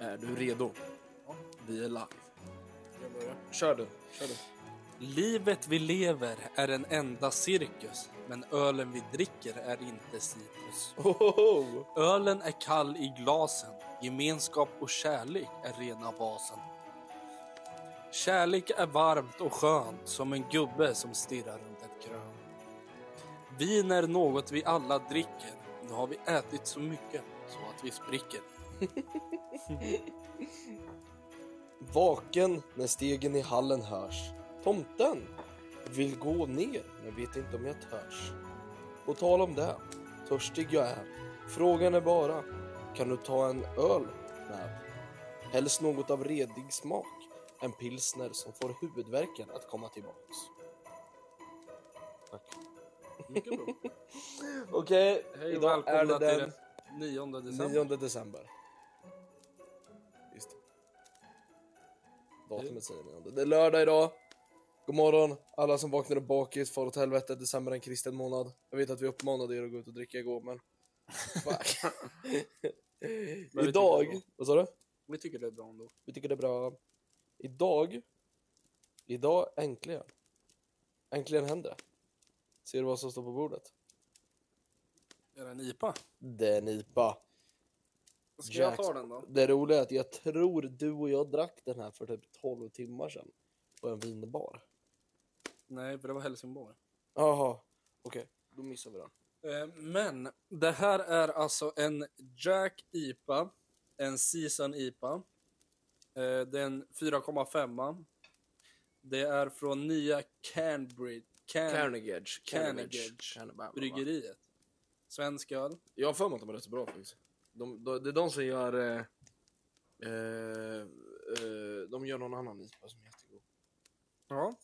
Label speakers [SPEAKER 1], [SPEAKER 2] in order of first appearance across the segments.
[SPEAKER 1] Är du redo?
[SPEAKER 2] Ja.
[SPEAKER 1] Vi är live.
[SPEAKER 2] Jag börjar. Kör du. Kör du.
[SPEAKER 1] Livet vi lever är en enda cirkus, men ölen vi dricker är inte citrus.
[SPEAKER 2] Ohoho!
[SPEAKER 1] Ölen är kall i glasen, gemenskap och kärlek är rena basen. Kärlek är varmt och skönt som en gubbe som stirrar runt ett krön. Vin är något vi alla dricker, nu har vi ätit så mycket så att vi spricker.
[SPEAKER 2] Vaken när stegen i hallen hörs. Tomten vill gå ner men vet inte om jag törs. Och tal om det, törstig jag är. Frågan är bara, kan du ta en öl med? Helst något av redig smak. En pilsner som får huvudvärken att komma tillbaks. Tack.
[SPEAKER 1] Mycket bra.
[SPEAKER 2] Okej,
[SPEAKER 1] Hej och
[SPEAKER 2] idag är
[SPEAKER 1] välkomna
[SPEAKER 2] det
[SPEAKER 1] till
[SPEAKER 2] den
[SPEAKER 1] den 9 december.
[SPEAKER 2] 9 december. Just det. Datumet säger 9. Det är lördag idag. God morgon alla som vaknade bakis, far åt helvete, december är en kristen månad. Jag vet att vi uppmanade er att gå ut och dricka igår men... Fuck.
[SPEAKER 1] Men vi tycker det är
[SPEAKER 2] idag...
[SPEAKER 1] bra.
[SPEAKER 2] Vad sa du?
[SPEAKER 1] Vi tycker det är bra ändå.
[SPEAKER 2] Vi tycker det är bra. Idag... Idag äntligen. Äntligen händer det. Ser du vad som står på bordet?
[SPEAKER 1] Är det en IPA?
[SPEAKER 2] Det är en IPA.
[SPEAKER 1] Ska jag
[SPEAKER 2] Jacks-
[SPEAKER 1] ta den då?
[SPEAKER 2] Det roliga är att jag tror du och jag drack den här för typ 12 timmar sedan. På en vinbar.
[SPEAKER 1] Nej, för det var Helsingborg.
[SPEAKER 2] Jaha, okej. Då missar vi den.
[SPEAKER 1] Eh, Men det här är alltså en Jack IPA, en Season IPA. Eh, Det är en 4,5. Det är från nya Canbridge, Can
[SPEAKER 2] Carnegie. Carnegie.
[SPEAKER 1] bryggeriet. Svensk öl.
[SPEAKER 2] Jag har för mig att de är rätt så bra faktiskt. De, de, det är de som gör... Eh, eh, eh, de gör någon annan IPA som är jättegod.
[SPEAKER 1] Ja.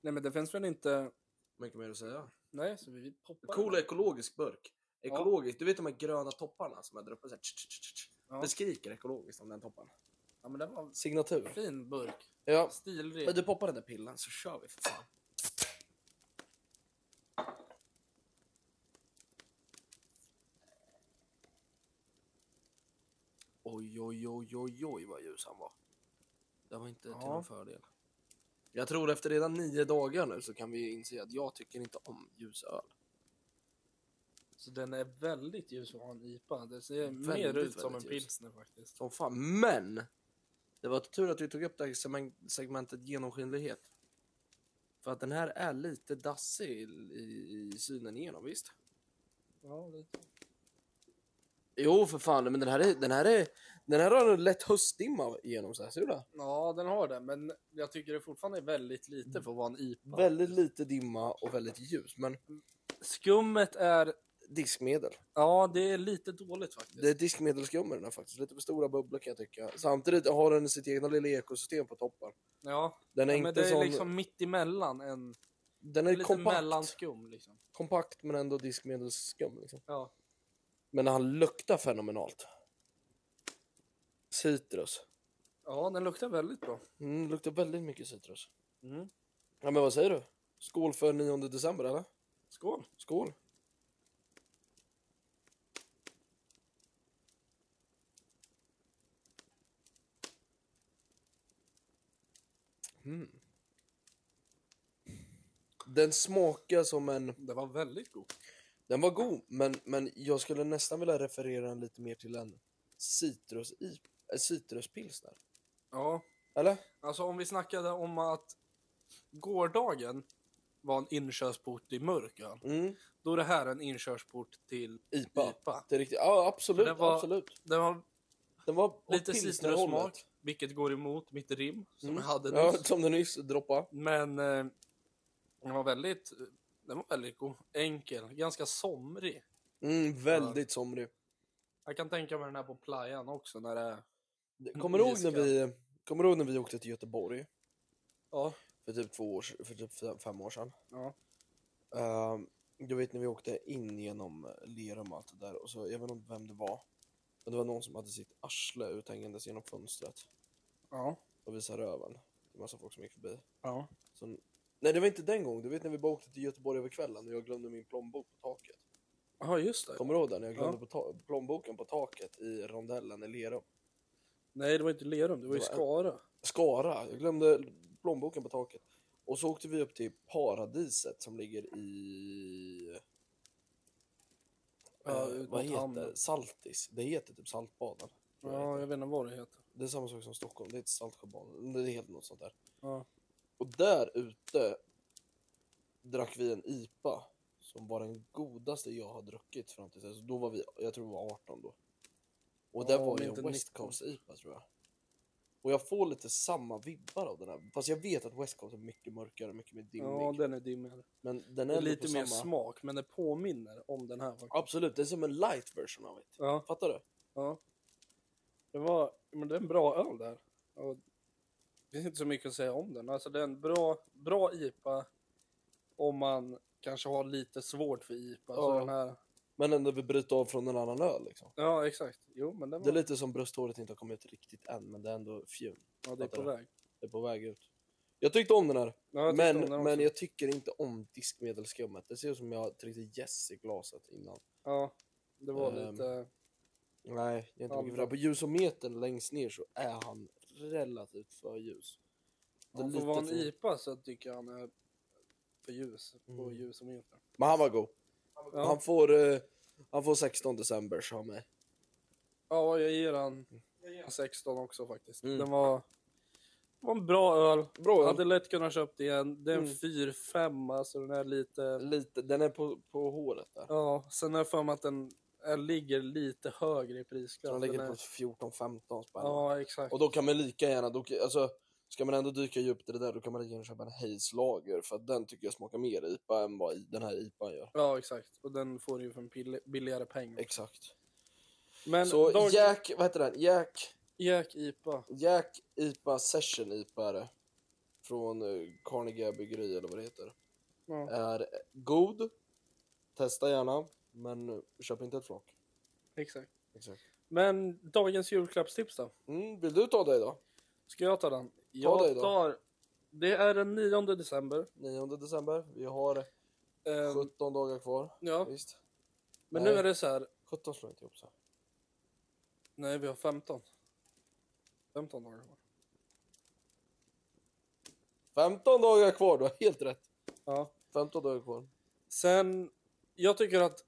[SPEAKER 1] Nej men det finns väl inte...
[SPEAKER 2] Mycket mer att säga.
[SPEAKER 1] Nej, så vi poppar.
[SPEAKER 2] Cool
[SPEAKER 1] den.
[SPEAKER 2] ekologisk burk. Ekologiskt, du vet de här gröna topparna som är där uppe? Så här, tsch, tsch, tsch, tsch.
[SPEAKER 1] Ja.
[SPEAKER 2] Det skriker ekologiskt om den toppen.
[SPEAKER 1] Ja men det var en
[SPEAKER 2] Signatur.
[SPEAKER 1] fin burk.
[SPEAKER 2] Ja,
[SPEAKER 1] Stilren.
[SPEAKER 2] Men du poppar den där pillen så kör vi för fan. Oj, oj, oj, oj, oj vad ljus han var. Det var inte till
[SPEAKER 1] Ja.
[SPEAKER 2] någon fördel. Jag tror efter redan nio dagar nu så kan vi inse att jag tycker inte om ljus öl.
[SPEAKER 1] Så den är väldigt ljus och har en IPA. Det ser mer
[SPEAKER 2] Väldigt,
[SPEAKER 1] ut som en
[SPEAKER 2] väldigt ljus.
[SPEAKER 1] pilsner faktiskt.
[SPEAKER 2] Som fan. Men! Det var tur att vi tog upp det här segmen- segmentet genomskinlighet. För att den här är lite dassig i, i, i synen igenom, visst?
[SPEAKER 1] Ja, lite.
[SPEAKER 2] Jo, för fan. Men den här, är, den här, är, den här har en lätt höstdimma igenom sig. Ser du det?
[SPEAKER 1] Ja, den har det, men jag tycker det fortfarande är väldigt lite för att vara en IPA.
[SPEAKER 2] Väldigt lite dimma och väldigt ljus. Men
[SPEAKER 1] Skummet är...
[SPEAKER 2] diskmedel.
[SPEAKER 1] Ja, det är lite dåligt faktiskt.
[SPEAKER 2] Det är diskmedelsgummi den här faktiskt. Lite för stora bubblor kan jag tycka. Samtidigt har den sitt egna lilla ekosystem på toppen.
[SPEAKER 1] Ja,
[SPEAKER 2] Den är
[SPEAKER 1] ja men
[SPEAKER 2] inte
[SPEAKER 1] det är
[SPEAKER 2] sån...
[SPEAKER 1] liksom mitt emellan en...
[SPEAKER 2] den är
[SPEAKER 1] Lite
[SPEAKER 2] kompakt,
[SPEAKER 1] mellanskum liksom.
[SPEAKER 2] kompakt men ändå diskmedelsskum. Liksom.
[SPEAKER 1] Ja.
[SPEAKER 2] Men han luktar fenomenalt. Citrus.
[SPEAKER 1] ja, den luktar väldigt bra.
[SPEAKER 2] Mm, luktar väldigt mycket citrus.
[SPEAKER 1] Mm.
[SPEAKER 2] Ja, men vad säger du? Skål för 9 december, eller?
[SPEAKER 1] Skål!
[SPEAKER 2] Skål! Mm. Den smakar som en...
[SPEAKER 1] Det var väldigt god.
[SPEAKER 2] Den var god, men, men jag skulle nästan vilja referera den lite mer till en citrus i, äh, citruspilsner.
[SPEAKER 1] Ja,
[SPEAKER 2] Eller?
[SPEAKER 1] alltså om vi snackade om att gårdagen var en inkörsport till mörk öl,
[SPEAKER 2] Mm.
[SPEAKER 1] då är det här en inkörsport till
[SPEAKER 2] IPA.
[SPEAKER 1] IPA.
[SPEAKER 2] Det är riktigt. Ja, absolut.
[SPEAKER 1] Den Mm. var-
[SPEAKER 2] absolut.
[SPEAKER 1] Den har
[SPEAKER 2] Den var åt
[SPEAKER 1] lite
[SPEAKER 2] pilsnerhållet.
[SPEAKER 1] citrussmak, vilket går emot mitt rim som
[SPEAKER 2] Mm.
[SPEAKER 1] jag hade
[SPEAKER 2] Ja,
[SPEAKER 1] nyss.
[SPEAKER 2] som du nyss droppade.
[SPEAKER 1] Men eh, den var väldigt, den var väldigt god. Enkel, ganska somrig.
[SPEAKER 2] Mm, väldigt somrig.
[SPEAKER 1] Jag kan tänka mig den här på playan också när det är...
[SPEAKER 2] Det- Kommer du ihåg när
[SPEAKER 1] Iskall.
[SPEAKER 2] vi, kommer du ihåg när vi åkte till Göteborg
[SPEAKER 1] Ja.
[SPEAKER 2] för typ två år, se- för typ fem- fem år sedan?
[SPEAKER 1] Ja.
[SPEAKER 2] Ehm, du vet när vi åkte in genom Lerum och allt det där och så, jag vet inte vem det var. Men det var någon som hade sitt arsle uthängandes genom fönstret
[SPEAKER 1] Ja.
[SPEAKER 2] och visade röven. Det var en massa folk som gick förbi.
[SPEAKER 1] ja.
[SPEAKER 2] Så Nej, det var inte den gången. Du vet när vi bara åkte till Göteborg över kvällen och jag glömde min plånbok på taket.
[SPEAKER 1] Ja, just det.
[SPEAKER 2] Kommer du ihåg den? Jag glömde
[SPEAKER 1] Ja.
[SPEAKER 2] på ta- plånboken på taket i rondellen i Lerum.
[SPEAKER 1] Nej, det var inte Lerum, det var ju
[SPEAKER 2] Det
[SPEAKER 1] Skara.
[SPEAKER 2] Skara. Jag glömde plånboken på taket. Och så åkte vi upp till Paradiset som ligger i...
[SPEAKER 1] Ja,
[SPEAKER 2] eh,
[SPEAKER 1] ut
[SPEAKER 2] vad
[SPEAKER 1] mot
[SPEAKER 2] heter
[SPEAKER 1] hamnen.
[SPEAKER 2] Saltis. Det heter typ Saltbaden. tror jag det
[SPEAKER 1] Ja,
[SPEAKER 2] heter.
[SPEAKER 1] jag vet inte vad det heter.
[SPEAKER 2] Det är samma sak som Stockholm. Det heter Saltsjöbaden. Det är helt något sånt där.
[SPEAKER 1] Ja.
[SPEAKER 2] Och där ute drack vi en IPA som var den godaste jag har druckit fram till dess. Då var vi, jag tror vi var 18 då. Och det
[SPEAKER 1] Ja,
[SPEAKER 2] var
[SPEAKER 1] men
[SPEAKER 2] ju
[SPEAKER 1] inte
[SPEAKER 2] en West
[SPEAKER 1] 19.
[SPEAKER 2] Coast IPA tror jag. Och jag får lite samma vibbar av den här. Fast jag vet att West Coast är mycket mörkare, mycket mer dimmig.
[SPEAKER 1] ja, den är dimmigare.
[SPEAKER 2] Men den
[SPEAKER 1] Det
[SPEAKER 2] är
[SPEAKER 1] är
[SPEAKER 2] ändå
[SPEAKER 1] lite
[SPEAKER 2] på
[SPEAKER 1] mer
[SPEAKER 2] samma...
[SPEAKER 1] smak, men det påminner om den här. faktiskt.
[SPEAKER 2] Absolut, det är som en light version av det.
[SPEAKER 1] Ja,
[SPEAKER 2] Fattar du?
[SPEAKER 1] ja. Det var, men det är en bra öl där. Och det finns inte så mycket att säga om den. Alltså det är en bra, bra IPA om man kanske har lite svårt för IPA. Så
[SPEAKER 2] Ja.
[SPEAKER 1] den här,
[SPEAKER 2] Men ändå vill bryta av från en annan öl liksom.
[SPEAKER 1] ja, exakt. Jo, men den
[SPEAKER 2] Det
[SPEAKER 1] var,
[SPEAKER 2] är lite som brösthåret inte har kommit ut riktigt än, men det är ändå fjun.
[SPEAKER 1] ja, det är på
[SPEAKER 2] fattar du.
[SPEAKER 1] väg.
[SPEAKER 2] Det är på väg ut. Jag tyckte om den här.
[SPEAKER 1] Ja, jag tyckte om den
[SPEAKER 2] men,
[SPEAKER 1] också.
[SPEAKER 2] men jag tycker inte om diskmedelskummet. Det ser ut som jag tryckte yes i glaset innan.
[SPEAKER 1] Ja, det var
[SPEAKER 2] Ehm,
[SPEAKER 1] lite...
[SPEAKER 2] Nej, jag är inte
[SPEAKER 1] Ja,
[SPEAKER 2] mycket för
[SPEAKER 1] men-
[SPEAKER 2] det. På ljusometern längst ner så är han relativt för ljus. Det är
[SPEAKER 1] Han får
[SPEAKER 2] lite
[SPEAKER 1] vara en
[SPEAKER 2] för-
[SPEAKER 1] IPA så tycker jag han är för ljus. På
[SPEAKER 2] Mm.
[SPEAKER 1] ljus och meter.
[SPEAKER 2] Men han var god.
[SPEAKER 1] Ja,
[SPEAKER 2] Han, får, eh, han får 16 december så han med.
[SPEAKER 1] ja, jag ger han jag ger han 16 också faktiskt.
[SPEAKER 2] Mm.
[SPEAKER 1] Den var, var en bra öl.
[SPEAKER 2] Bra
[SPEAKER 1] Jag
[SPEAKER 2] öl.
[SPEAKER 1] hade lätt kunnat köpt igen. Det är en
[SPEAKER 2] Mm.
[SPEAKER 1] 4-5 så den är lite...
[SPEAKER 2] Lite, den är på, på håret där.
[SPEAKER 1] Ja, sen är jag för mig att den är, ligger lite högre i
[SPEAKER 2] Så
[SPEAKER 1] prisklass.
[SPEAKER 2] den ligger
[SPEAKER 1] är,
[SPEAKER 2] på 14-15 spänn.
[SPEAKER 1] Ja, exakt.
[SPEAKER 2] Och då kan man lika gärna, då, alltså, ska man ändå dyka djupt i det där då kan man lika gärna köpa en Hayes lager för att den tycker jag smakar mer IPA än vad i- den här IPA gör.
[SPEAKER 1] Ja, exakt. Och den får du ju för en pill- billigare peng.
[SPEAKER 2] Exakt.
[SPEAKER 1] Men
[SPEAKER 2] Så
[SPEAKER 1] Dark
[SPEAKER 2] Jack, vad heter den? Jack,
[SPEAKER 1] Jack IPA.
[SPEAKER 2] Jack IPA Session IPA är det. Från eh, Carnegie Bryggeri eller vad det heter.
[SPEAKER 1] Ja.
[SPEAKER 2] Är god. Testa gärna. Men eh, köp inte ett flak.
[SPEAKER 1] Exakt.
[SPEAKER 2] Exakt.
[SPEAKER 1] Men dagens julklappstips då?
[SPEAKER 2] Mm, vill du ta det idag?
[SPEAKER 1] Ska jag ta den? Jag
[SPEAKER 2] dig då.
[SPEAKER 1] tar... Det är den 9 december.
[SPEAKER 2] 9 december. Vi har
[SPEAKER 1] Ehm,
[SPEAKER 2] 17 dagar kvar.
[SPEAKER 1] ja.
[SPEAKER 2] Visst.
[SPEAKER 1] Men
[SPEAKER 2] nej.
[SPEAKER 1] nu är det så här.
[SPEAKER 2] 17 slår inte ihop så.
[SPEAKER 1] Nej, vi har 15. 15 dagar kvar.
[SPEAKER 2] 15 dagar kvar, du har helt rätt.
[SPEAKER 1] Ja.
[SPEAKER 2] 15 dagar kvar.
[SPEAKER 1] Sen, jag tycker att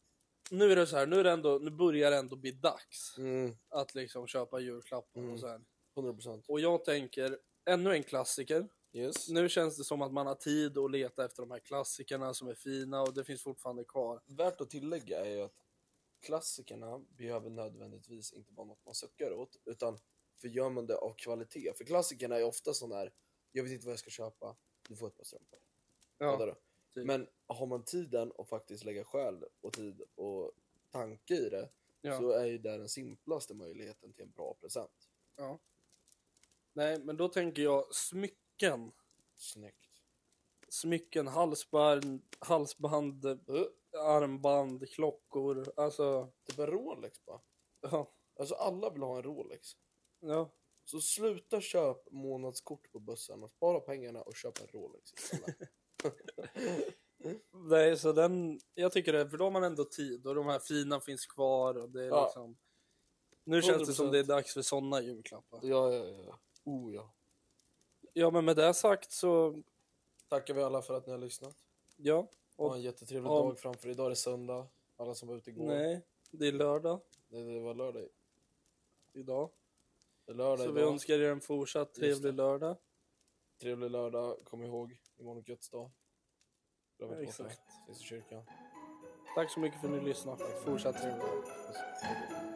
[SPEAKER 1] nu är det så här, nu, är det ändå, nu börjar det ändå bli dags
[SPEAKER 2] Mm,
[SPEAKER 1] att liksom köpa julklappar
[SPEAKER 2] Mm.
[SPEAKER 1] och så här.
[SPEAKER 2] 100%.
[SPEAKER 1] Och jag tänker, ännu en klassiker.
[SPEAKER 2] Yes.
[SPEAKER 1] Nu känns det som att man har tid att leta efter de här klassikerna som är fina och det finns fortfarande kvar.
[SPEAKER 2] Värt att tillägga är ju att klassikerna behöver nödvändigtvis inte vara något man suckar åt, utan för gör man det av kvalitet. För klassikerna är ofta sån här, jag vet inte vad jag ska köpa, du får ett par strumpor. Fattar du?
[SPEAKER 1] typ.
[SPEAKER 2] Men har man tiden och faktiskt lägga själ och tid och tanke i det,
[SPEAKER 1] ja.
[SPEAKER 2] så är ju det den simplaste möjligheten till en bra present.
[SPEAKER 1] Nej, men då tänker jag smycken.
[SPEAKER 2] Snyggt.
[SPEAKER 1] smycken, halsband, halsband,
[SPEAKER 2] Uh,
[SPEAKER 1] armband, klockor. Alltså,
[SPEAKER 2] typ en Rolex bara.
[SPEAKER 1] ja.
[SPEAKER 2] Alltså alla vill ha en Rolex.
[SPEAKER 1] ja.
[SPEAKER 2] Så sluta köp månadskort på bussen och spara pengarna och köp en Rolex istället.
[SPEAKER 1] Nej, så den, jag tycker det, för då har man ändå tid och de här fina finns kvar och det är
[SPEAKER 2] Ja.
[SPEAKER 1] liksom. Nu känns det som
[SPEAKER 2] 100%.
[SPEAKER 1] det är dags för sådana julklappar.
[SPEAKER 2] ja, ja, ja. Oh ja.
[SPEAKER 1] Ja, men med det sagt så,
[SPEAKER 2] Tackar vi alla för att ni har lyssnat.
[SPEAKER 1] ja.
[SPEAKER 2] Ha
[SPEAKER 1] Och,
[SPEAKER 2] en jättetrevlig
[SPEAKER 1] om-
[SPEAKER 2] dag framför er. Idag är det söndag. Alla som var ute igår. Nej.
[SPEAKER 1] nej, det är lördag
[SPEAKER 2] Det, det var lördag.
[SPEAKER 1] idag.
[SPEAKER 2] Det är lördag
[SPEAKER 1] Så
[SPEAKER 2] idag.
[SPEAKER 1] vi önskar er en fortsatt
[SPEAKER 2] det.
[SPEAKER 1] trevlig lördag.
[SPEAKER 2] Trevlig lördag. Kom ihåg, imorgon är Guds dag. Glöm inte bort det.
[SPEAKER 1] Exakt.
[SPEAKER 2] Finns i kyrkan.
[SPEAKER 1] Tack så mycket för att ni lyssnade. Fortsatt trevlig lördag.
[SPEAKER 2] Puss. Hej då.